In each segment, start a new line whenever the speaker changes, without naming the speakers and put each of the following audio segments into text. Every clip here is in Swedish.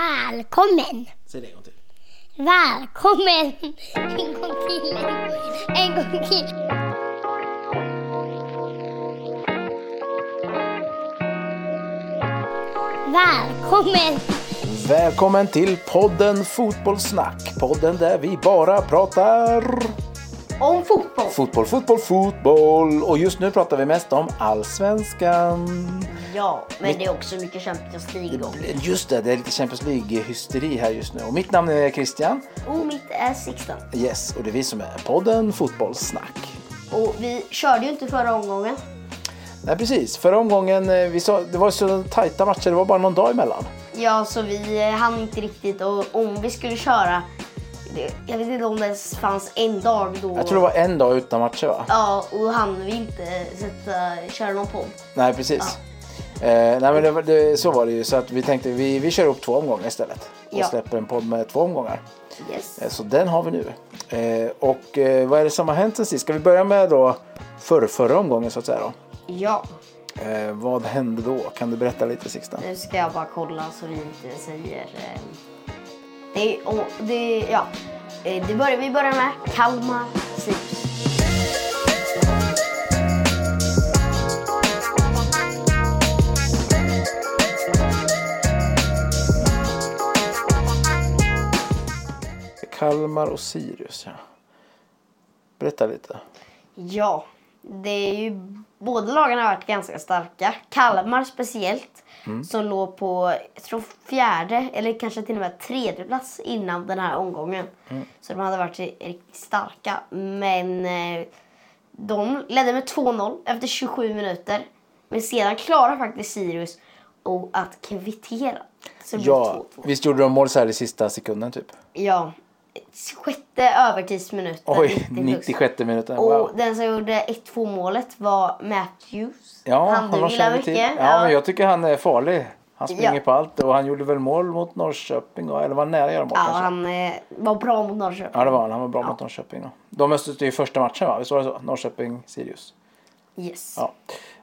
Välkommen!
Säg det en gång till.
Välkommen! En gång till. En gång till. Välkommen!
Välkommen till podden Fotbollssnack. Podden där vi bara pratar
Om fotboll.
fotboll, fotboll, fotboll. Och just nu pratar vi mest om allsvenskan.
Ja, men det är också mycket Champions League då.
Just det, det är lite Champions League-hysteri här just nu. Och mitt namn är Christian.
Och Oh, mitt är Sixten.
Yes, och det är vi som är podden Fotbollssnack.
Och vi körde ju inte förra omgången.
Nej precis, förra omgången eh, vi sa, det var så tajta matcher, det var bara någon dag emellan.
Ja, så vi eh, hann inte riktigt och om vi skulle köra, det- jag vet inte om det ens fanns en dag då.
Jag tror det var en dag utan matcher va?
Ja, och hann vi inte eh, sätta, köra någon podd.
Nej precis. Eh, nej men det, var- det, så var det ju så att vi tänkte vi, vi kör upp två omgångar istället. Och
Ja.
släpper en podd med två omgångar.
Yes.
Eh, så den har vi nu. Eh, och eh, vad är det som har hänt sen sist? Ska vi börja med då förra, förra omgången så att säga då?
Ja,
Eh, vad hände då? Kan du berätta lite Sixten?
nu ska jag bara kolla så vi inte säger... Eh, det, och, det, ja. Eh, det börjar, vi börjar med Kalmar Sirius.
Kalmar och Sirius ja. Berätta lite.
Ja, det är ju, båda lagen har varit ganska starka. Kalmar speciellt,
Mm.
som låg på jag tror fjärde eller kanske till och med tredje plats innan den här omgången.
Mm.
Så de hade varit riktigt starka. Men eh, de ledde med 2-0 efter 27 minuter. Men sedan klarar faktiskt Sirius och att kvittera. Så det blev
Ja,
2-2.
visst gjorde de mål så här i sista sekunden typ?
Ja, sjätte övertidsminuten.
Oj,
90 plus.
96 minuten.
Och
Wow.
den som gjorde 1-2 målet var Matthews.
Ja,
han du
har
gillar
slagit till.
mycket.
Ja, men jag tycker han är farlig. Han springer
Ja.
på allt och han gjorde väl mål mot Norrköping, va? eller var nära att göra mål
ja,
kanske.
han eh, var bra mot Norrköping.
Ja, det var han. Han var bra mot Norrköping. Då. De möttes ju i första matchen, va? Visst var det så? Norrköping-Sirius.
Yes.
Ja.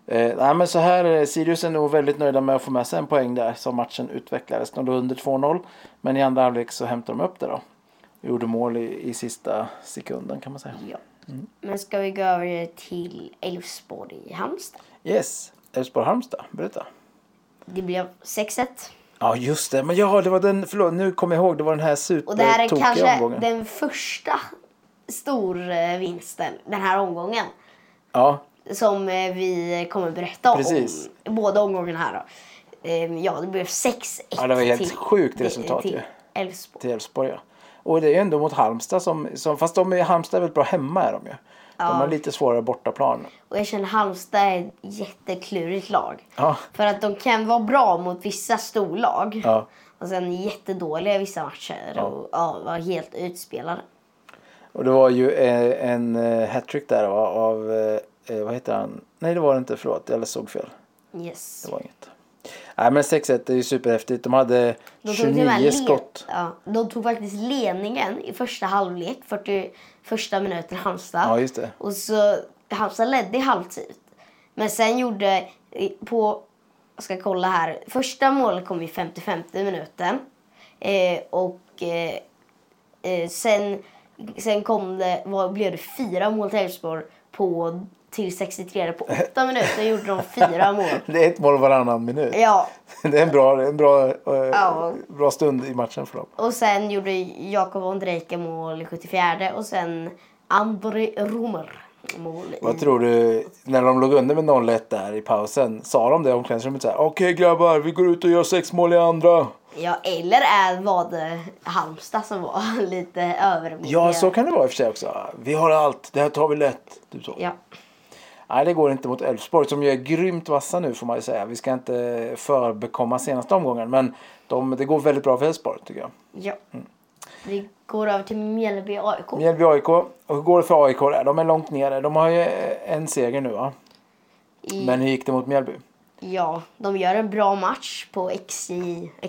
Eh, nej, men så här, eh, Sirius är nog väldigt nöjda med att få med sig en poäng där som matchen utvecklades. De låg under 2-0, men i andra halvlek så hämtade de upp det då. Gjorde mål i, i sista sekunden kan man säga.
Ja.
Mm.
Men ska vi gå över till Elfsborg i Halmstad.
Yes, Elfsborg-Halmstad, berätta.
Det blev 6-1.
Ja just det, men ja det var den, förlåt nu kommer jag ihåg, det var den här
Och det här är
supertokiga
kanske
omgången.
den första stor eh, vinsten den här omgången.
Ja,
Som eh, vi kommer berätta
Precis.
om. Båda omgångarna här då. Ehm, Ja, det blev 6-1
Ja, det var helt
till-
sjukt
till-
resultat
till
ju.
Elfsborg.
till Elfsborg ja. Och det är ju ändå mot Halmstad som, som fast de är, Halmstad är väldigt bra hemma är de ju. De har lite svårare bortaplan.
Och jag känner Halmstad är ett jätteklurigt lag.
Ja.
För att de kan vara bra mot vissa storlag.
Ja.
Och sen jättedåliga i vissa matcher. Och ja, vara helt utspelade.
Och det var ju eh, en eh, hattrick där va, av, eh, eh, vad heter han? Nej det var det inte, förlåt jag såg fel.
Yes.
Det var inget. Nej men 6-1 är ju superhäftigt. De hade
De tog till och med
29
led-
skott.
Ja, de tog faktiskt ledningen i första halvlek, 41 minuten Halmstad.
Ja just det.
Och så Halmstad ledde i halvtid. Men sen gjorde på, jag ska kolla här, första målet kom i 55 minuten. Eh, och eh, eh, sen, sen kom det, vad, blev det fyra mål till Elfsborg på till 63 på åtta minuter gjorde de fyra mål.
Det är ett mål varannan minut.
Ja,
Det är en bra, en bra, eh,
Ja.
bra stund i matchen för dem.
och sen gjorde Jakob Ondrejka mål i 74 och sen André Romer mål i
Vad tror du, när de låg under med 0-1 där i pausen, sa de det i omklädningsrummet såhär Okej grabbar, vi går ut och gör sex mål i andra.
Ja, eller är var det Halmstad som var lite övermotiverad?
Ja, så kan det vara i och för sig också. Vi har allt, det här tar vi lätt. Typ så.
Ja.
Nej, det går inte mot Elfsborg som ju är grymt vassa nu får man ju säga. Vi ska inte förbekomma senaste omgången, men de, det går väldigt bra för Elfsborg tycker jag.
ja.
Mm.
Vi går över till Mjällby AIK.
Mjällby AIK, och hur går det för AIK där? De är långt nere. De har ju en seger nu va?
I,
Men hur gick det mot Mjällby?
Ja, de gör en bra match på XG,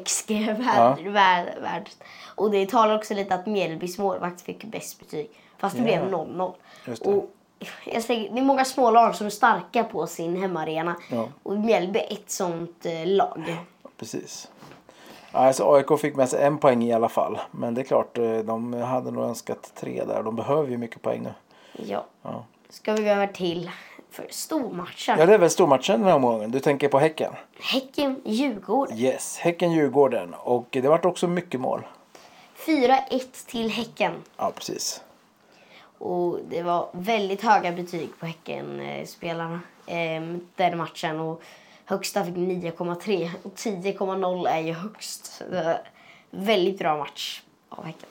XG värld, värld, värld. Och det talar också lite att Mjällbys målvakt fick bäst betyg. Fast det
Ja.
blev 0-0.
Just det.
Och jag säger, det är många små lag som är starka på sin hemmaarena.
Ja.
Och Mjällby är ett sånt eh, lag.
Precis. Ja, Alltså AIK fick med sig en poäng i alla fall. Men det är klart, eh, de hade nog önskat tre där. De behöver ju mycket poäng nu.
Ja.
Ja.
Ska vi gå över till för stormatchen.
Ja, det är väl stormatchen den här omgången. Du tänker på Häcken?
Häcken-Djurgården.
Yes, Häcken-Djurgården. Och det vart också mycket mål.
4-1 till Häcken.
Ja, precis.
Och det var väldigt höga betyg på Häcken-spelarna ehm, den matchen. Och högsta fick 9,3 och 10,0 är ju högst. Så det var väldigt bra match av Häcken.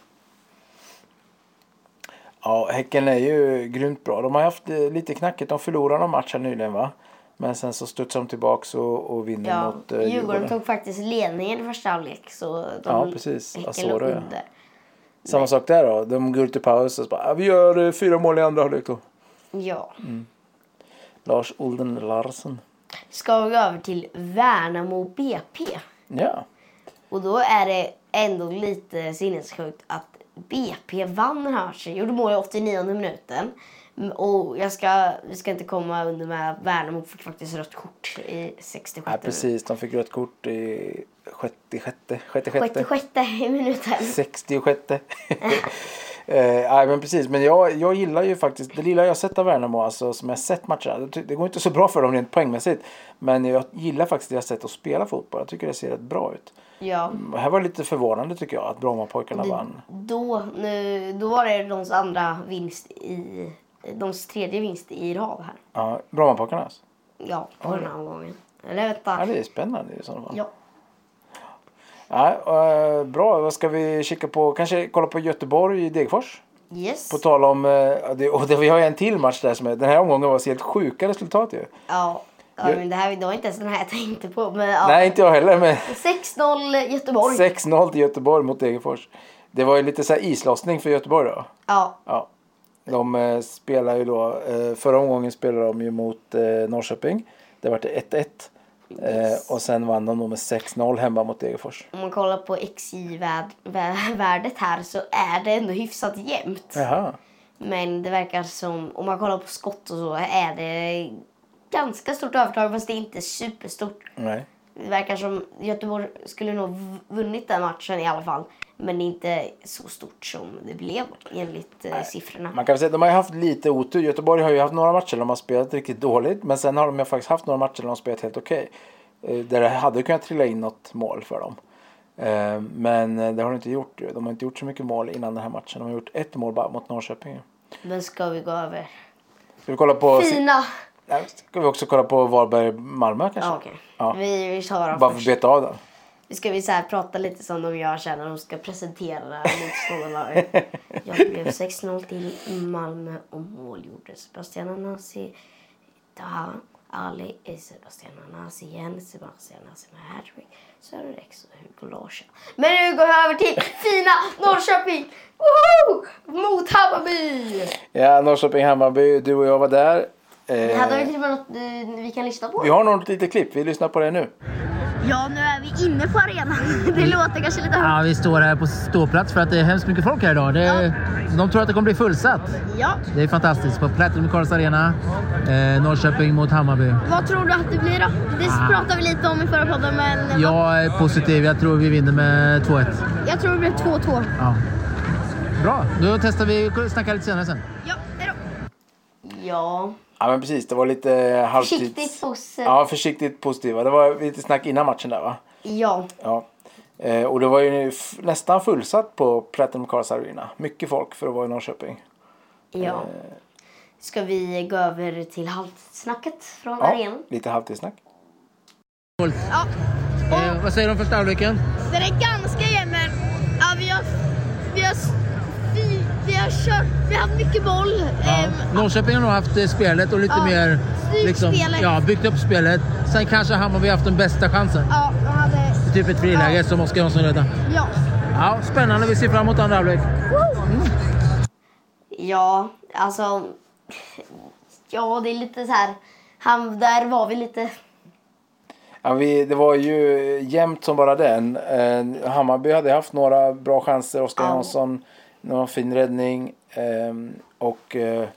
Ja, Häcken är ju grymt bra. De har haft eh, lite knackigt. De förlorade någon match här nyligen va? Men sen så studsar de tillbaks och, och vinner
Ja,
mot eh,
Djurgården, tog faktiskt ledningen i första halvlek så de
Ja, precis.
Häcken låg
Asoro, ja.
under.
Samma sak där då. De går ut i paus och så bara, "Ja, vi gör eh, fyra mål i andra halvlek då.
Ja.
Mm. Lars Olden Larsen.
Ska vi gå över till Värnamo BP.
Ja.
Och då är det ändå lite sinnessjukt att BP vann den här matchen. Gjorde mål i 89 minuten. Mm, Och jag ska, vi ska inte komma under med att Värnamo fick faktiskt rött kort i 67
Nej, precis. De fick rött kort i 66, 66,
66 minuten.
66. Eh, Nej men precis, men jag, jag gillar ju faktiskt det lilla jag sett av Värnamo, alltså som jag sett matcherna. Det, ty- det går inte så bra för dem rent poängmässigt. Men jag gillar faktiskt det jag sett att spela fotboll. Jag tycker det ser rätt bra ut.
Ja.
Det här var lite förvånande tycker jag att Brommapojkarna vann.
Då, nu, då var det deras andra vinst i... Deras tredje vinst i rad här.
Ja, Brommapojkarna alltså.
Ja, på den här gången. Eller
Ja,
vänta.
det är spännande i sådana fall.
Ja.
Nej, eh, bra, vad ska vi kika på? Kanske kolla på Göteborg i Degerfors?
Yes.
På tal om, eh, det, och det, vi har ju en till match där som är, den här omgången var så helt sjuka resultat ju.
Ja. ja
Jag-
men det, här, det var inte ens den här jag tänkte på. Men, ja.
Nej, inte jag heller, men
6-0 Göteborg.
6-0 till Göteborg mot Degerfors. Det var ju lite så här islossning för Göteborg då.
Ja,
Ja. De eh, spelar ju då, eh, förra omgången spelade de ju mot eh, Norrköping. Det vart 1-1.
Yes.
Eh, och sen vann de då med 6-0 hemma mot Degerfors.
om man kollar på XJ-värdet här så är det ändå hyfsat jämnt.
Jaha.
Men det verkar som, om man kollar på skott och så, är det ganska stort övertag fast det är inte superstort.
Nej.
Det verkar som Göteborg skulle nog v- vunnit den matchen i alla fall. Men det är inte så stort som det blev enligt eh, siffrorna.
Man kan väl säga att de har ju haft lite otur. Göteborg har ju haft några matcher där de har spelat riktigt dåligt. Men sen har de ju faktiskt haft några matcher där de har spelat helt okej. Eh, Där det hade kunnat trilla in något mål för dem. Eh, Men det har de inte gjort. ju. De har inte gjort så mycket mål innan den här matchen. De har gjort ett mål bara mot Norrköping.
Men ska vi gå över?
Ska vi kolla på...
Fina!
Nej, Ska vi också kolla på Varberg-Malmö kanske?
Ja, okej.
Ja.
Vi, vi tar dem
Bara för
först.
att beta av den.
Vi ska vi så här prata lite som de gör sen när de ska presentera motståndarlaget. Jag blev 6-0 till Malmö och mål gjorde Sebastian Anasi, Taha Ali, eh, Sebastian Anasi igen, Sebastian Anasi med hattrick, Sören Rex och Hugo Larsson. Men nu går vi över till fina Norrköping! Woho! Mot Hammarby!
Ja, Norrköping-Hammarby. Du och jag var där.
Vi hade väl
Eh,
till och med något eh, vi kan lyssna
vi
på?
har något litet klipp. Vi lyssnar på det nu.
Ja, nu är vi inne på arenan. Det låter kanske lite högt.
Ja, vi står här på ståplats för att det är hemskt mycket folk här idag. Det, De tror att det kommer bli fullsatt.
Ja.
Det är fantastiskt. På Platinum Cars Arena, eh, Norrköping mot Hammarby.
Vad tror du att det blir då? Det pratade vi lite om i förra podden, men
Jag är positiv. Jag tror vi vinner med 2-1.
jag tror det blir 2-2.
Ja. Bra, då testar vi och snackar lite senare sen.
Ja, hejdå.
Ja,
Ja men precis, det var lite halvtids...
Försiktigt positivt.
Ja, försiktigt positiva. Det var lite snack innan matchen där va?
ja.
Ja. Eh, och det var ju f- nästan fullsatt på Platinum Cars Arena. Mycket folk för att vara i Norrköping.
Ja. Ska vi gå över till halvtidssnacket från
Ja,
arenan?
lite halvtidssnack.
Ja.
Eh, vad säger du om första halvleken?
Den är ganska jämn, men ja, vi, har, vi, har, vi, vi har kört, vi har haft mycket boll.
Ja.
Ehm,
Norrköping har nog haft eh, spelet och lite
Ja,
mer... liksom,
styrt spelet.
ja, byggt upp spelet. Sen kanske Hammarby haft den bästa chansen.
ja, de hade,
Typ ett friläge som Oskar Jansson räddade.
ja.
Ja, spännande. Vi ser fram emot andra halvlek.
Ja, alltså... Ja, det är lite så här... Han, där var vi lite...
Ja, vi, det var ju jämnt som bara den. Eh, Hammarby hade haft några bra chanser. Oskar
Ja.
Jansson, någon fin räddning. Eh, och eh,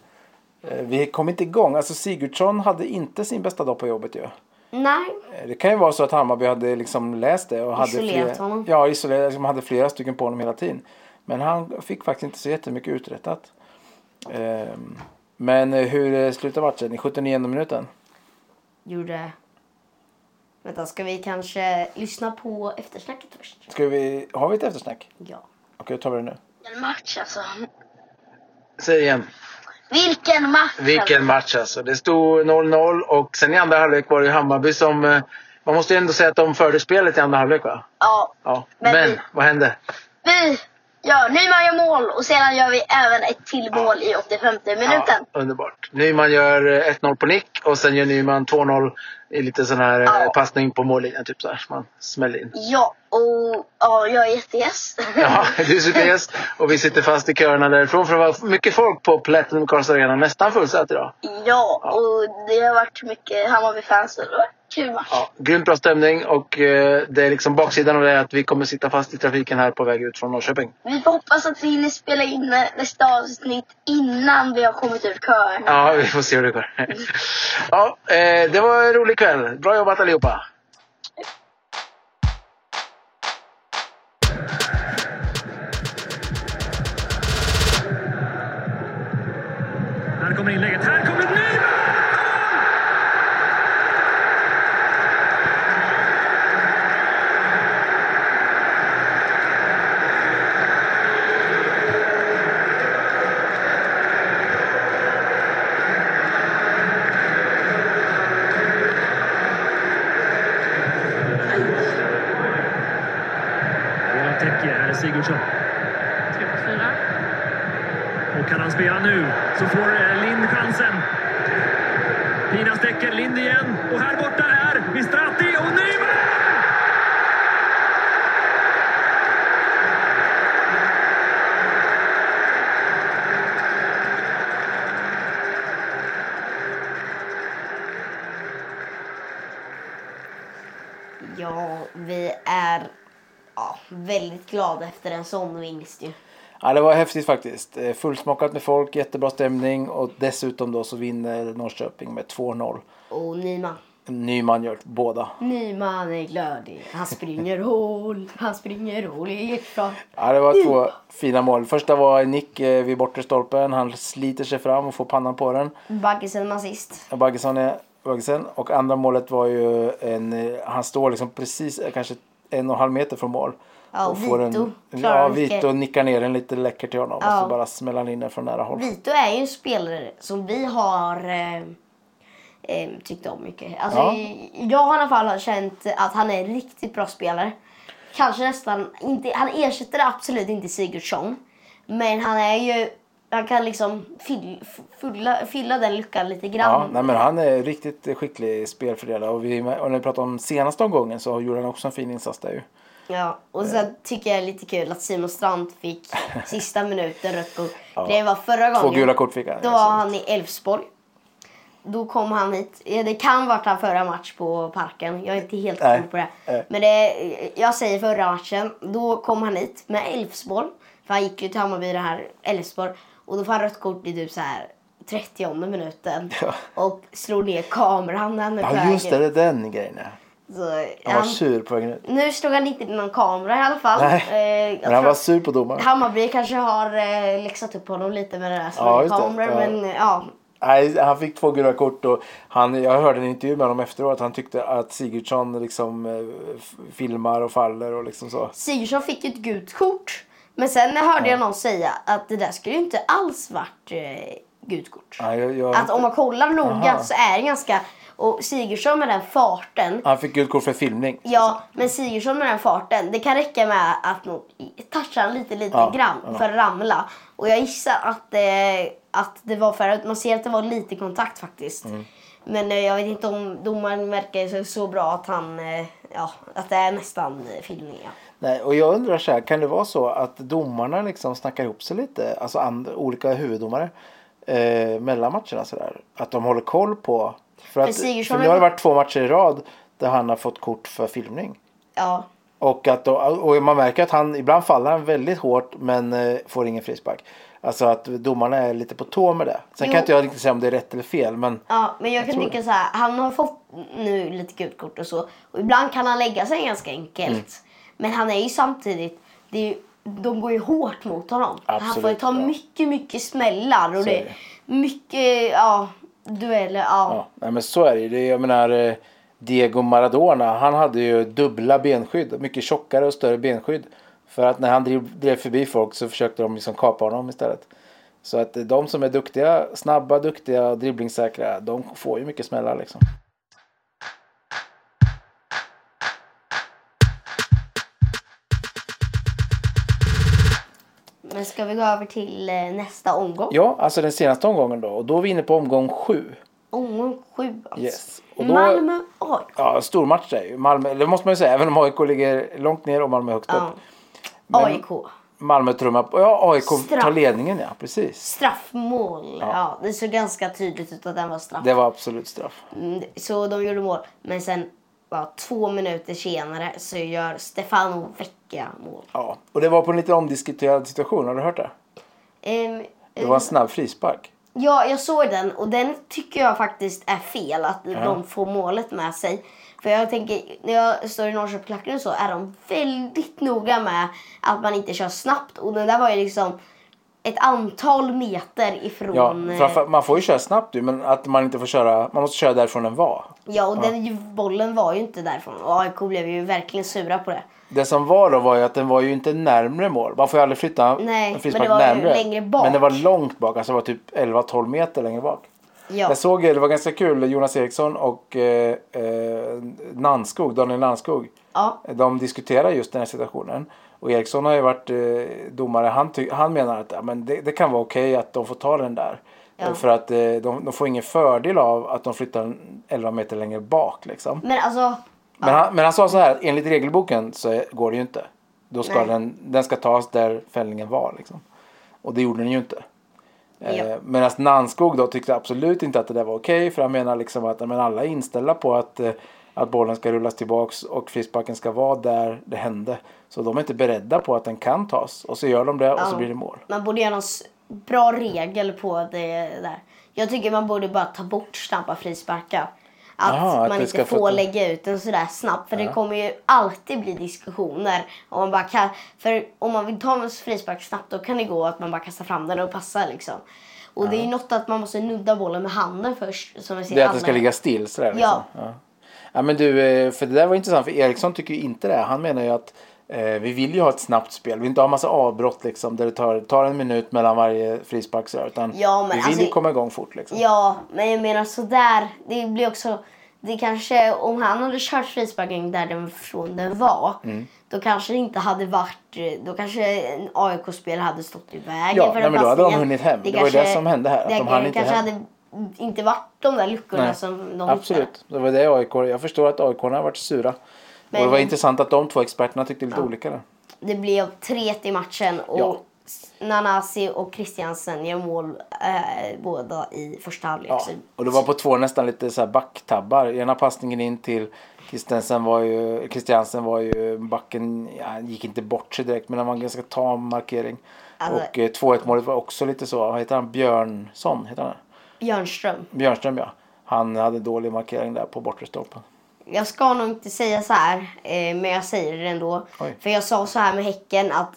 eh, vi kom inte igång. Alltså Sigurdsson hade inte sin bästa dag på jobbet ju.
Nej,
Det kan ju vara så att Hammarby hade liksom läst det och hade
Isolerat
flera,
honom.
Ja, isolerat, liksom hade flera stycken på honom hela tiden. Men han fick faktiskt inte så jättemycket uträttat. Ehm, men hur eh, slutar matchen? I 79 minuten?
gjorde... Vänta, ska vi kanske lyssna på eftersnacket först?
Ska vi, har vi ett eftersnack?
Ja.
Okej, då tar vi det nu.
Vilken match alltså.
Säg igen.
Vilken match.
Vilken match alltså. Det stod 0-0 och sen i andra halvlek var det ju Hammarby som... eh, Man måste ju ändå säga att de förde spelet i andra halvlek va?
Ja.
Ja. Men,
Men-
vad hände?
Vi gör Nyman gör mål och sedan gör vi även ett till mål i 85 minuten.
Ja, underbart. Nyman gör eh, 1-0 på nick och sen gör Nyman 2-0 i lite sån här eh,
Ja.
passning på mållinjen. Typ så här. som Man smäller in.
Ja, och ja, jag är jättegäst.
Ja, du är supergäst och vi sitter fast i köerna därifrån för det var mycket folk på Platinum Cars Arena. Nästan fullsatt idag.
Ja, och det har varit mycket Hammarby-fans. och Det var en kul match.
Ja, grymt bra stämning och eh, det är liksom baksidan av det är att vi kommer sitta fast i trafiken här på väg ut från Norrköping.
Vi får hoppas att vi hinner spela in nästa avsnitt innan vi har kommit ur köerna.
Ja, vi får se hur det går. Ja, eh, det var en rolig kväll. Bra jobbat allihopa.
Här kommer inlägget. Här kommer Nyman! Bola täcker. Här är Sigurdsson. Och kan han spela nu så får eh, Lind chansen. Fina sträcker, Lind igen. Och här borta är Mistratti och Nyman!
Ja, vi är ja, väldigt glada efter en sån vinst ju.
Ja, det var häftigt faktiskt. Eh, Fullsmockat med folk, jättebra stämning och dessutom då så vinner Norrköping med 2-0.
Och Nyman.
Nyman gör båda.
Nyman är glödig. Han springer hål, han springer hål i hjärtat.
Ja, det var
Mm.
två fina mål. Första var en nick eh, vid bortre stolpen. Han sliter sig fram och får pannan på den.
Baggisen assist.
Baggesson är Baggesen. Och andra målet var ju en... eh, Han står liksom precis, eh, kanske en och en halv meter från mål.
Ja,
och får
Vito
En,
klarar
ja,
han
Vito
mycket.
nickar ner den lite läcker till honom.
Ja.
Och så bara smäller han in den från nära håll.
Vito är ju en spelare som vi har eh, eh, tyckt om mycket. Alltså,
Ja.
Jag har i alla fall känt att han är en riktigt bra spelare. Kanske nästan inte, han ersätter absolut inte Sigurdsson. Men han är ju, han kan liksom fyll, fylla, fylla den luckan lite
Ja,
grann.
nej, men han är riktigt skicklig spelfördelare. Och, vi, och när vi pratade om senaste omgången så gjorde han också en fin insats där ju.
Ja, och
Eh.
sen tycker jag det är lite kul att Simon Strand fick sista minuten rött kort. Det var förra gången.
Två gula kort fick han. liksom.
Då var han i Elfsborg. Då kom han hit. Ja, Det kan varit han förra match på Parken. Jag är inte helt
Nej,
koll på det.
nej.
Men det, jag säger förra matchen. Då kom han hit med Elfsborg. För han gick ju till Hammarby det här Elfsborg. Och då får han rött kort i typ så här 30 minuten.
Ja.
Och slår ner kameran när han är på
Ja,
väg
just det.
ut.
Det är den grejen. ja.
Så,
Han var
han-
sur på vägen ut.
nu slog han inte in någon kamera i alla fall.
Nej,
Eh, jag
Men han
tror-
var sur på domaren.
Hammarby kanske har eh, läxat upp honom lite med det där
Ja, just det.
kameror,
Ja.
men eh, ja.
Nej, han fick två gula kort och han, jag hörde en intervju med honom efteråt. att Han tyckte att Sigurdsson liksom eh, f- filmar och faller och liksom så.
Sigurdsson fick ju ett gult kort. Men sen hörde jag någon säga att det där skulle ju inte alls varit eh, gult kort.
Nej, jag, jag,
Att om man kollar noga
Aha.
så är det ganska... Och Sigurdsson med den farten.
Han fick gult kort för filmning.
Ja, men Sigurdsson med den farten. Det kan räcka med att någon touchar lite, lite
Ja,
grann
ja.
för att ramla. Och jag gissar att, eh, att det var för att man ser att det var lite kontakt faktiskt.
Mm.
Men eh, jag vet inte om domaren märker så, så bra att han, eh, ja, att det är nästan eh, filmning. Ja.
Nej, och jag undrar så här, kan det vara så att domarna liksom snackar ihop sig lite? Alltså and, olika huvuddomare eh, mellan matcherna sådär. Att de håller koll på. För, att,
Sigurdsson
för nu
har-
har det varit två matcher i rad där han har fått kort för filmning.
ja.
Och, att då, och man märker att han ibland faller han väldigt hårt men eh, får ingen frispark. Alltså att domarna är lite på tå med det. Sen
Jo.
kan inte jag riktigt säga om det är rätt eller fel men
Ja, men jag, kan
tror
tycka så här, han har fått, nu lite gult kort och så. Och ibland kan han lägga sig ganska enkelt.
Mm.
Men han är ju samtidigt, det är ju, de går ju hårt mot honom. han får ju
Absolut,
ta
ja.
mycket, mycket smällar och
Så
det
är
är mycket, ja, dueller. Ja.
Ja, nej, men så är det ju. Det är- Jag menar, eh, Diego Maradona, han hade ju dubbla benskydd. Mycket tjockare och större benskydd. För att när han drev, drev förbi folk så försökte de liksom kapa honom istället. Så att eh, de som är duktiga, snabba, duktiga och dribblingssäkra, de får ju mycket smällar liksom.
Men ska vi gå över till eh, nästa omgång?
Ja, alltså den senaste omgången då. Och då är vi inne på omgång sju.
Omgång sju alltså.
Yes. Och då-
Malmö AIK.
Ja, stor match är ju. Malmö, det måste man ju säga, även om AIK ligger långt ner och Malmö högt
Ja.
upp. Men-
AIK.
Malmö trummar på. Ja, AIK tar
Straff.
ledningen ja, precis.
Straffmål. Ja. det såg ganska tydligt ut att den var straff.
Det var absolut straff.
Mm, Så de gjorde mål. Men sen bara två minuter senare så gör Stefano Vecchia mål.
Ja, och det var på en lite omdiskuterad situation. Har du hört det?
Ehm,
Det var en snabb frispark.
Ja, jag såg den och den tycker jag faktiskt är fel att de får målet med sig. För jag tänker, när jag står i Norrköpingsklacken så är de väldigt noga med att man inte kör snabbt. Och den där var ju liksom ett antal meter
Ja,
ifrån... eh,
framför, man får ju köra snabbt ju, men att man inte får köra, man måste köra därifrån den var.
ja och den ju- bollen var ju inte därifrån. Och AIK blev ju verkligen sura på det.
Det som var då var ju att den var ju inte närmre mål. Man får ju aldrig flytta
Nej,
en
men
frispark
det var ju
närmre.
längre bak.
Men det var långt bak, alltså det var typ 11-12 meter längre bak.
Ja,
Jag såg det, det var ganska kul, Jonas Eriksson och eh, eh, Nannskog, Daniel Nannskog.
ja,
De diskuterar just den här situationen. Och Eriksson har ju varit eh, domare. Han, ty- han menar att ja, men det, det kan vara okej att de får ta den där.
Ja.
Eh, För att eh, de, de får ingen fördel av att de flyttar den 11 meter längre bak. Liksom.
men alltså...
Men, han, men han sa så här, att enligt regelboken så är- går det ju inte. Då ska
Nej.
den, den ska tas där fällningen var. Liksom. Och det gjorde den ju inte. Eh,
Ja.
Medan Nanskog då tyckte absolut inte att det där var okej. För han menar liksom att ja, men alla är inställda på att, eh, att bollen ska rullas tillbaks och frisparken ska vara där det hände. Så de är inte beredda på att den kan tas. Och så gör de det och så
Ja.
blir det mål.
Man borde göra någon s- bra regel på det där. Jag tycker man borde bara ta bort snabba frisparkar. Att
Jaha, att
man
det
inte
ska få
får
ta-
lägga ut den sådär snabbt. För det kommer ju alltid bli diskussioner. Om man bara kan... För om man vill ta en frispark snabbt då kan det gå att man bara kastar fram den och passar liksom. Och det är ju något att man måste nudda bollen med handen först. Som vi ser
Det är att den ska
alla.
ligga still sådär liksom. ja. ja. men du, eh, för det där var intressant för Eriksson tycker ju inte det. Han menar ju att eh, vi vill ju ha ett snabbt spel. Vi vill inte ha massa avbrott liksom där det tar, tar en minut mellan varje frispark sådär. Utan
Ja, men
vi vill
alltså-
ju komma igång fort liksom.
Ja, men jag menar sådär. Det blir också... Det kanske, om han hade kört frisparken där den från den var,
Mm.
då kanske det inte hade varit... Då kanske en AIK-spelare hade stått i vägen
Ja,
för
nej,
den
men då hade de
passningen.
hunnit hem. Det var ju det som hände här, att
Det
de hann inte
kanske
hem.
hade inte varit de där luckorna
Nej,
som alltså, de hittade.
Absolut, det var det AIK. Jag förstår att AIK har varit sura.
Men-
Och det var intressant att de två experterna tyckte lite olika där.
Det blev 3 i matchen och
Ja.
Nanasi och Christiansen gör mål eh, båda i första halvlek.
Ja,
Så-
och det var på två nästan lite så här backtabbar. Ena passningen in till Christiansen var ju, Christiansen var ju backen, ja, han gick inte bort sig direkt men han var en ganska tam markering.
Alltså-
och eh, 2-1 målet var också lite så, vad heter han, Björnsson? Heter han? det?
Björnström.
Björnström ja. Han hade dålig markering där på bortre stolpen.
Jag ska nog inte säga så här, eh, men jag säger det ändå.
Oj.
För jag sa så här med Häcken att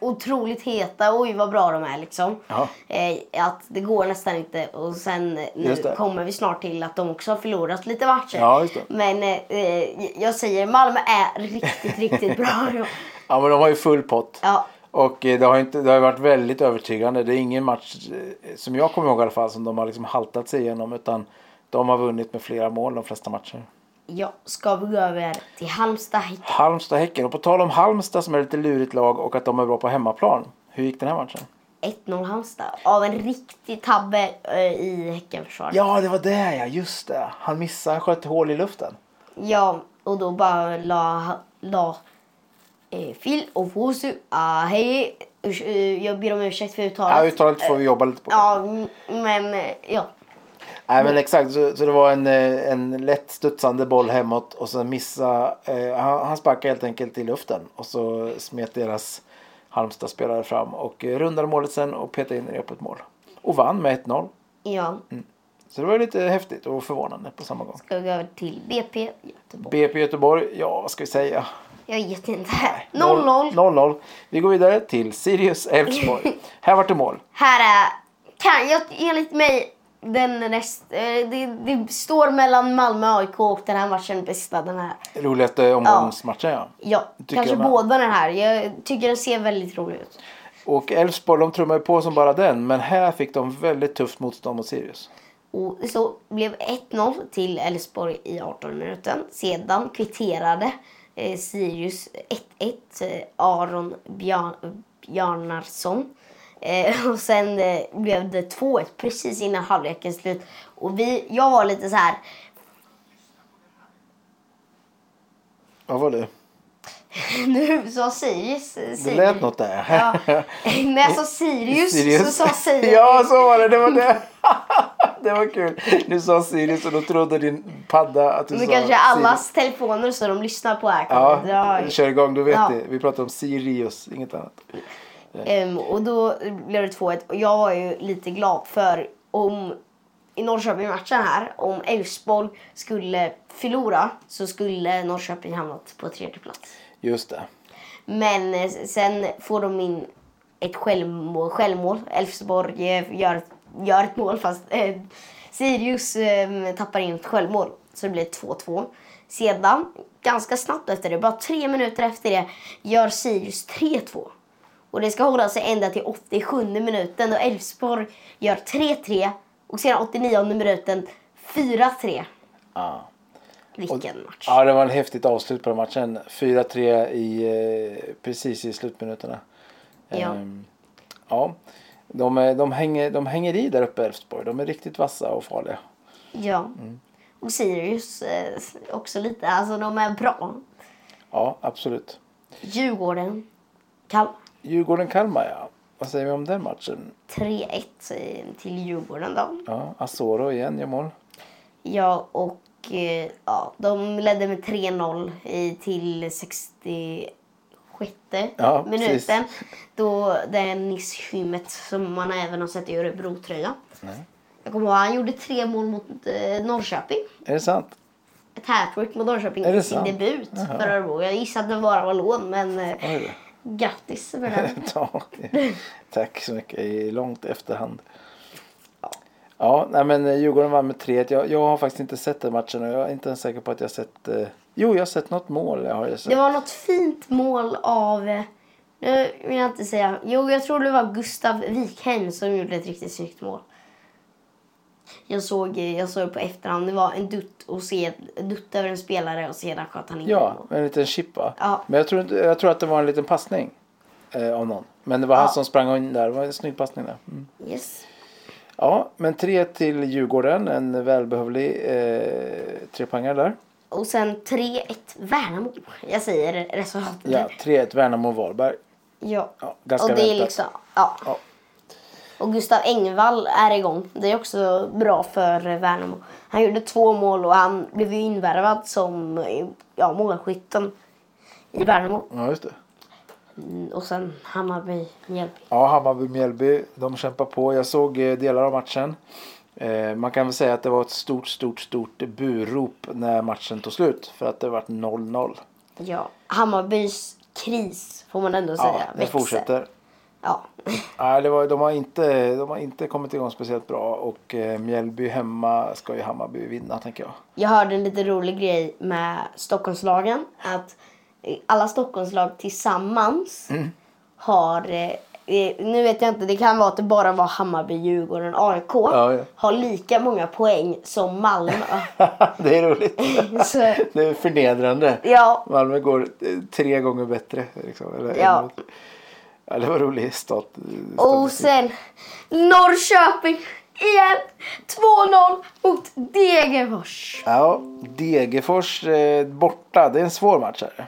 otroligt heta, oj vad bra de är liksom.
Ja.
Eh, att det går nästan inte och sen eh,
Just
nu
det.
kommer vi snart till att de också har förlorat lite matcher.
Ja, just det.
Men eh, eh, jag säger Malmö är riktigt, riktigt bra.
Ja men de har ju full pott.
Ja.
Och eh, det har, inte, det har ju varit väldigt övertygande. Det är ingen match eh, som jag kommer ihåg i alla fall som de har liksom haltat sig igenom utan de har vunnit med flera mål de flesta matcher.
ja, ska vi gå över till Halmstad Häcken?
Halmstad-Häcken. Och på tal om Halmstad som är ett lite lurigt lag och att de är bra på hemmaplan. Hur gick den här matchen?
1-0 Halmstad av en riktig tabbe eh, i Häckenförsvaret.
Ja, det var det ja. Just det. Han missade. Han sköt hål i luften.
Ja, och då bara la, la eh, Phil och Fosu. Ah, hej. Usch, eh, jag ber om ursäkt för
Ja,
uttalet.
uttalet får vi jobba lite på.
Ja, m- men eh, ja.
Nej, men exakt. Så, så det var en, eh, en lätt studsande boll hemåt och sen missa. Eh, han, han sparkade helt enkelt i luften och så smet deras Halmstad-spelare fram och eh, rundade målet sen och petade in i öppet mål. Och vann med 1-0.
ja.
Så det var ju lite häftigt och förvånande på samma gång.
Ska vi gå över till BP Göteborg?
BP Göteborg, ja vad ska vi säga?
Jag vet inte.
Noll-
0-0.
0-0. Vi går vidare till Sirius Elfsborg. Här vart det mål.
Här är, kan jag, enligt mig, den näst, eh, det, det står mellan Malmö och AIK och den här matchen bästa. Den här.
Roligaste eh, omgångsmatchen ja.
Ja,
Tycker
kanske
jag med.
båda den här. Jag tycker den ser väldigt rolig ut.
Och Elfsborg de trummar ju på som bara den. Men här fick de väldigt tufft motstånd mot Sirius.
Och så blev 1-0 till Elfsborg i 18 minuten. Sedan kvitterade eh, Sirius 1-1 eh, Aron Bjarn- Bjarnarsson. Eh, och sen eh, blev det 2-1 precis innan halvlekens slut. Och vi, jag var lite så här,
Vad var det?
nu sa Sirius... eh,
Det
Sirius.
lät något där.
Ja. När jag sa Sirius, så sa Sirius.
ja, så var det. Det var det. det var kul. Du sa Sirius och då trodde din padda att du
Nu
sa
kanske
Sirius.
allas telefoner så de lyssnar på här
Ja,
kommer dra i-
kör igång. Du vet
Ja.
det. Vi pratar om Sirius, inget annat.
Ehm, och då blev det 2-1 och jag var ju lite glad för om i Norrköping-matchen här, om Elfsborg skulle förlora så skulle Norrköping hamnat på tredje plats.
Just det.
Men eh, sen får de in ett självmål. självmål. Elfsborg eh, gör, gör ett mål fast eh, Sirius eh, tappar in ett självmål. Så det blir 2-2. Sedan, ganska snabbt efter det, bara tre minuter efter det, gör Sirius 3-2. Och det ska hålla sig ända till 87 minuten och Elfsborg gör 3-3 och sedan 89 minuten 4-3.
Ja.
Vilken match.
Ja, det var en häftigt avslut på den matchen. 4-3 i, eh, precis i slutminuterna.
Ja.
Ehm, ja. De, är- de, hänger, de hänger i där uppe Elfsborg. De är riktigt vassa och farliga.
Ja.
Mm.
Och Sirius eh, också lite. Alltså de är bra.
Ja, absolut.
Djurgården. Kalmar.
Djurgården-Kalmar, ja. Vad säger vi om den matchen?
3-1 eh, till Djurgården då.
Ja, Asoro igen gör mål.
Ja, och eh, ja, de ledde med 3-0 i- till 66
Ja, precis.
minuten. Då det är Nils Hymmet som man även har sett i Örebro-tröja. Jag kommer ihåg, han gjorde tre mål mot eh, Norrköping.
Är det sant?
Ett hattrick mot Norrköping
Är det
i sin
sant?
debut för Örebro. Jag gissade att det bara var lån, men eh,
Oj då.
Grattis för den.
Ja, det- Tack så mycket. I långt efterhand. Ja, nej men eh, Djurgården vann med 3-1. Jag, jag har faktiskt inte sett den matchen och jag är inte ens säker på att jag har sett... Eh... Jo, jag har sett något mål. Jag har ju sett.
Det var något fint mål av, eh, nu vill jag inte säga, jo jag tror det var Gustav Wikheim som gjorde ett riktigt snyggt mål. Jag såg, eh, jag såg det på efterhand, det var en dutt, och se, en dutt över en spelare och sedan sköt han in
Ja,
mål.
en liten chip va?
Ja.
Men jag tror, inte- jag tror att det var en liten passning eh, av någon. Men det var han
Ja.
som sprang in där. Det var en snygg passning där. Mm.
Yes.
Ja, men 3 till Djurgården. En välbehövlig eh, trepoängare där.
Och sen 3-1 Värnamo. Jag säger resultatet.
Ja, 3-1 Värnamo-Varberg.
Ja.
Ja, ganska
och det är
väntat.
liksom, ja.
Ja.
Och Gustav Engvall är igång. Det är också bra för eh, Värnamo. Han gjorde två mål och han blev ju invärvad som eh, ja, målskytten i Värnamo.
Ja, just det.
Mm, Och sen Hammarby med hjälp.
Ja, Hammarby-Mjällby, de kämpar på. Jag såg eh, delar av matchen. Eh, Man kan väl säga att det var ett stort, stort, stort burop när matchen tog slut. För att det var 0-0.
Ja. Hammarbys kris får man ändå
Ja,
säga.
den fortsätter.
Ja.
Nej, det var, de, har inte, de har inte kommit igång speciellt bra. Och eh, Mjällby hemma ska ju Hammarby vinna, tänker jag.
Jag hörde en lite rolig grej med Stockholmslagen. Att eh, alla Stockholmslag tillsammans
Mm.
har... eh, eh, Nu vet jag inte, det kan vara att det bara var Hammarby, Djurgården, AIK.
Ja, ja.
Har lika många poäng som Malmö.
det är roligt.
Så,
det är förnedrande.
ja,
Malmö går eh, tre gånger bättre. Liksom, eller,
Ja.
ja, det var rolig stat,
och
statistik.
sen Norrköping igen. 2-0 mot Degerfors.
Ja, Degerfors eh, borta. Det är en svår match. Här.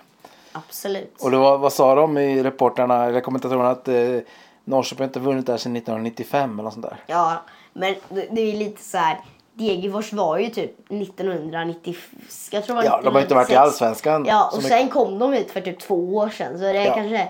Absolut.
Och det var, vad sa de i reportrarna, eller kommentatorerna att eh, Norrköping inte vunnit där sedan 1995 eller något sånt där.
Ja, men det det är ju lite så här. Degerfors var ju typ 1990... Jag tror det var
Ja, de har inte varit i
1996.
Allsvenskan
Ja, och
så
sen kom de hit för typ två år sedan. Så det är
Ja.
kanske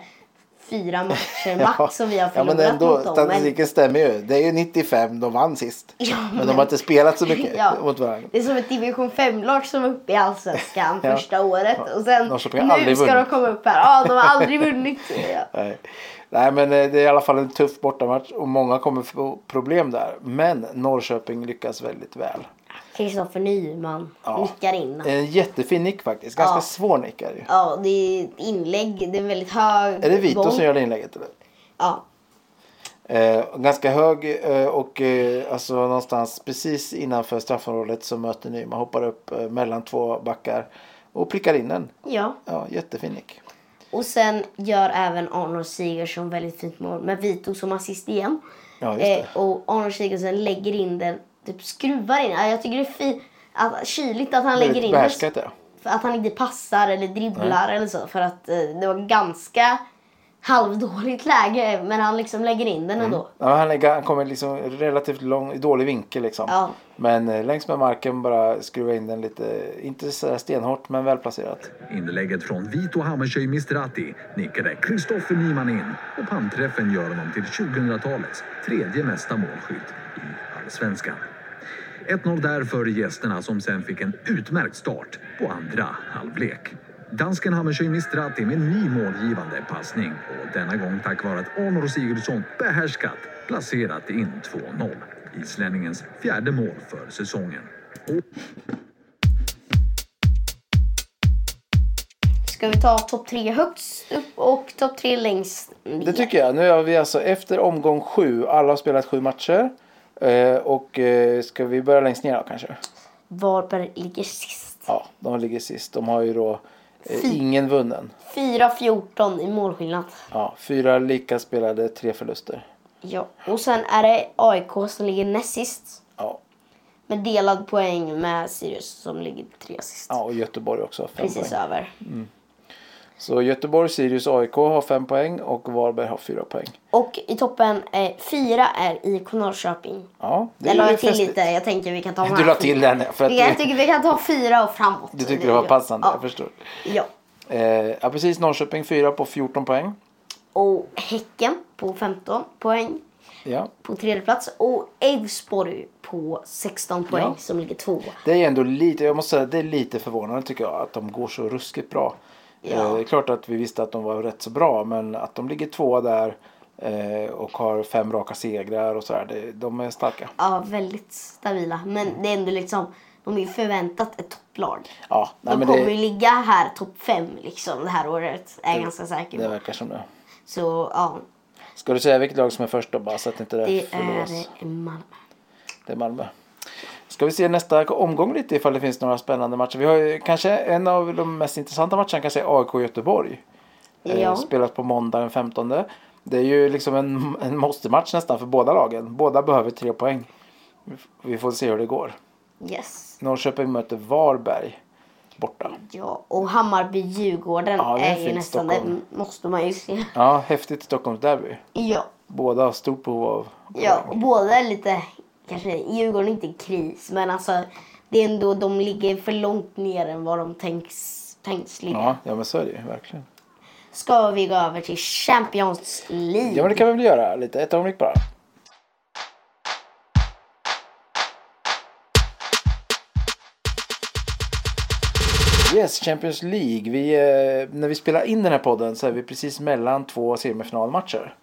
fyra matcher max som vi har
ja,
förlorat
men ändå,
mot dem. Men
statistiken stämmer ju. Det är ju 95 de vann sist.
Ja,
men, de
men-
har inte spelat så mycket
Ja.
mot varandra.
det är som ett division 5-lag som är uppe i allsvenskan
Ja.
första året och sen
Norrköping har
nu
aldrig
ska de
vunnit.
komma upp här. Ja, de har aldrig vunnit. Ja.
Nej. Nej, men eh, det är i alla fall en tuff bortamatch och många kommer få problem där. Men Norrköping lyckas väldigt väl.
Kristoffer Nyman
Ja.
nickar in.
En jättefin nick faktiskt. Ganska
Ja.
svår nick är det ju.
Ja, det är ett inlägg. Det är en väldigt hög
Är det Vito
boll.
som gör det inlägget? Eller?
Ja.
Eh, ganska hög eh, och eh, alltså någonstans precis innanför straffområdet så möter Nyman. Hoppar upp eh, mellan två backar och prickar in den.
ja.
Ja, jättefin nick.
Och sen gör även Arnold Sigurdsson väldigt fint mål med Vito som assist igen.
Ja, just det.
Eh, och Arnold Sigurdsson lägger in den, typ skruvar in. Ja, Jag tycker det är fint, att, kyligt att han lägger
Väldigt
in den.
behärskat ja.
För att han inte passar eller dribblar eller så. För att eh, det var ganska halvdåligt läge. Men han liksom lägger in den ändå.
Ja, men han, lägger, han kommer liksom relativt lång, i dålig vinkel liksom.
Ja.
Men eh, längs med marken bara skruva in den lite, inte sådär stenhårt men välplacerat.
Inlägget från Vito Hammershöj Mistratti nickade Kristoffer Nyman in och panträffen gör honom till 2000-talets tredje mesta målskytt i allsvenskan. 1-0 där för gästerna som sen fick en utmärkt start på andra halvlek. Dansken Hammershöj Mistratti med en ny målgivande passning och denna gång tack vare att Arnor Sigurdsson behärskat placerat in 2-0. Islänningens fjärde mål för säsongen.
Ska vi ta topp tre högst upp och topp tre längst ner?
Det tycker jag. Nu är vi alltså efter omgång sju. Alla har spelat sju matcher. Eh, och eh, ska vi börja längst ner då kanske?
Varberg ligger sist.
Ja, de ligger sist. De har ju då
Fy.
eh, ingen vunnen.
4-14 i målskillnad.
Ja, fyra lika spelade, tre förluster.
Ja, och sen är det AIK som ligger näst sist.
Ja,
Med delad poäng med Sirius som ligger tre sist.
ja och Göteborg också. Fem
Precis
poäng.
över.
Så Göteborg, Sirius, AIK har fem poäng och Varberg har fyra poäng.
Och i toppen, eh, fyra är IK Norrköping.
Ja, det
Det la
är ju
jag till
festligt.
lite. Jag tänker vi kan ta de här
Du la
fyra.
till den för att
Vi kan- Jag
du,
tycker vi kan ta fyra och framåt.
du tyckte det var passande.
Ja.
Jag förstår.
ja.
Eh, ja, precis. Norrköping fyra på 14 poäng.
Och Häcken på 15 poäng
Ja.
på tredje plats. Och Elfsborg på 16 poäng
Ja.
som ligger tvåa.
Det är ändå lite, jag måste säga, det är lite förvånande tycker jag att de går så ruskigt bra. Eh, det är klart att vi visste att de var rätt så bra men att de ligger tvåa där eh, och har fem raka segrar och sådär. det- De är starka.
Ja, väldigt stabila. Men det är ändå liksom, de är ju förväntat ett topplag.
Ja, nej,
de
men
kommer ju
det,
ligga här topp fem liksom det här året. Är jag ganska säker
det
på.
verkar som det.
Så ja,
Ska du säga vilket lag som är först då bara så att inte det,
det
förloras?
är Malmö.
Det är Malmö. Ska vi se nästa omgång lite ifall det finns några spännande matcher. Vi har ju kanske en av de mest intressanta matcherna kanske är AIK Göteborg. Eh,
Ja.
Spelas på måndag den 15. Det är ju liksom en, en måste-match nästan för båda lagen. Båda behöver tre poäng. Vi f- Vi får se hur det går.
Yes.
Norrköping möter Varberg borta.
Ja, och Hammarby-Djurgården
Ja, det är
är, ju
fint,
nästan,
Stockholm.
det måste man ju se.
Ja, häftigt Stockholmsderby.
Ja,
Båda har stort behov av
ja och båda är lite, kanske Djurgården är inte i kris, men alltså det är ändå, de ligger för långt ner än vad de tänks, tänks ligga.
Ja, ja men så är det ju verkligen.
Ska vi gå över till Champions League?
Ja men det kan vi väl göra lite. Ett ögonblick bara. Yes, Champions League. Vi, eh, när vi spelar in den här podden så är vi precis mellan två semifinalmatcher.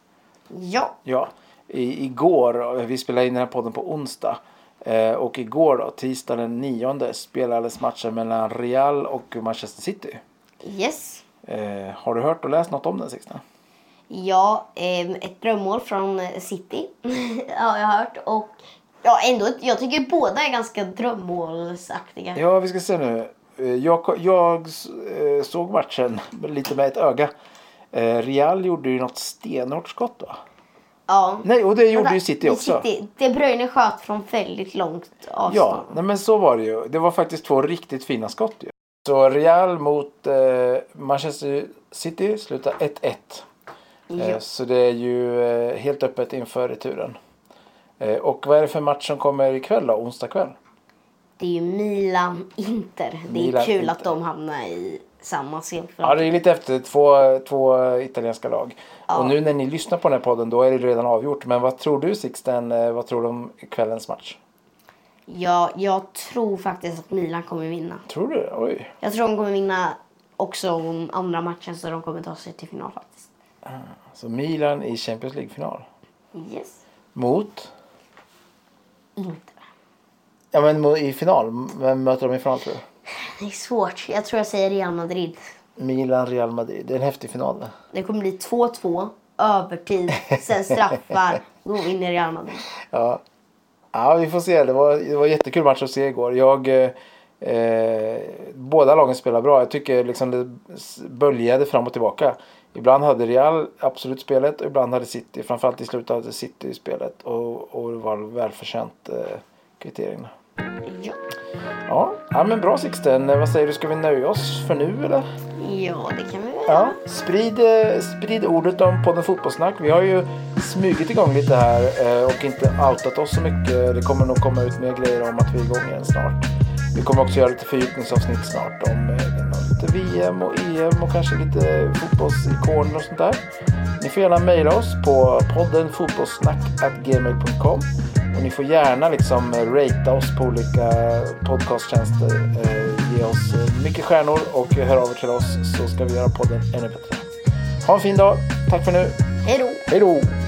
ja.
Ja, i, igår, eh, vi spelade in den här podden på onsdag. Eh, och igår då, tisdag den 9 spelades matchen mellan Real och Manchester City.
Yes.
Eh, har du hört och läst något om den Sixten?
Ja, eh, ett drömmål från eh, City har jag hört. Och ja, ändå, jag tycker båda är ganska drömmålsaktiga.
Ja, vi ska se nu. Eh, Jag, jag eh, såg matchen lite med ett öga. Eh, Real gjorde ju något stenhårt skott va?
Ja.
Nej, och det gjorde
Vänta,
ju City
i
också.
City, De Bruyne sköt från väldigt långt
Ja,
avstånd.
nej, men så var det ju. Det var faktiskt två riktigt fina skott ju. Så Real mot eh, Manchester City slutar 1-1. Eh, så det är ju eh, helt öppet inför returen. Eh, och vad är det för match som kommer ikväll då? Onsdag kväll?
Det är ju Milan-Inter. Det är
Milan,
kul
Inter.
att de hamnar i tillsammans jämfört
Ja, det är lite efter två, två italienska lag.
Ja.
Och nu när ni lyssnar på den här podden då är det redan avgjort. Men vad tror du Sixten, eh, vad tror du om kvällens match?
Ja, jag tror faktiskt att Milan kommer vinna.
Tror du? Oj.
Jag tror de kommer vinna också om andra matchen så de kommer ta sig till final faktiskt.
Så Milan i Champions League-final.
Yes.
Mot?
Inte.
Ja men mo- i final. Vem möter de i final tror du?
Det är svårt. Jag tror jag säger Real Madrid.
Milan, Real Madrid. Det är en häftig final det.
Det kommer bli 2-2, övertid, sen straffar, gå in i Real Madrid.
Ja. ja, vi får se. Det var, det var en jättekul match att se igår. Jag, eh, eh, båda lagen spelar bra. Jag tycker liksom det s- böljade fram och tillbaka. Ibland hade Real absolut spelet och ibland hade City, framförallt i slutet, hade City spelet. Och, och det var välförtjänt eh, kvittering.
Ja.
Ja. ja, men bra Sixten. Eh, Vad säger du, ska vi nöja oss för nu eller?
ja, det kan vi väl
Ja,
göra.
sprid, eh, sprid ordet om podden Fotbollssnack. Vi har ju smugit igång lite här eh, och inte outat oss så mycket. Det kommer nog komma ut mer grejer om att vi är igång igen snart. Vi kommer också göra lite fördjupningsavsnitt snart om eh, lite VM och EM och kanske lite fotbollsikoner och sånt där. Ni får gärna mejla oss på podden fotbollssnack.gmail.com och ni får gärna liksom eh, ratea oss på olika podcasttjänster. Eh, ge oss eh, mycket stjärnor och hör av er till oss så ska vi göra podden ännu bättre. Ha en fin dag. Tack för nu.
Hej då!
Hej då!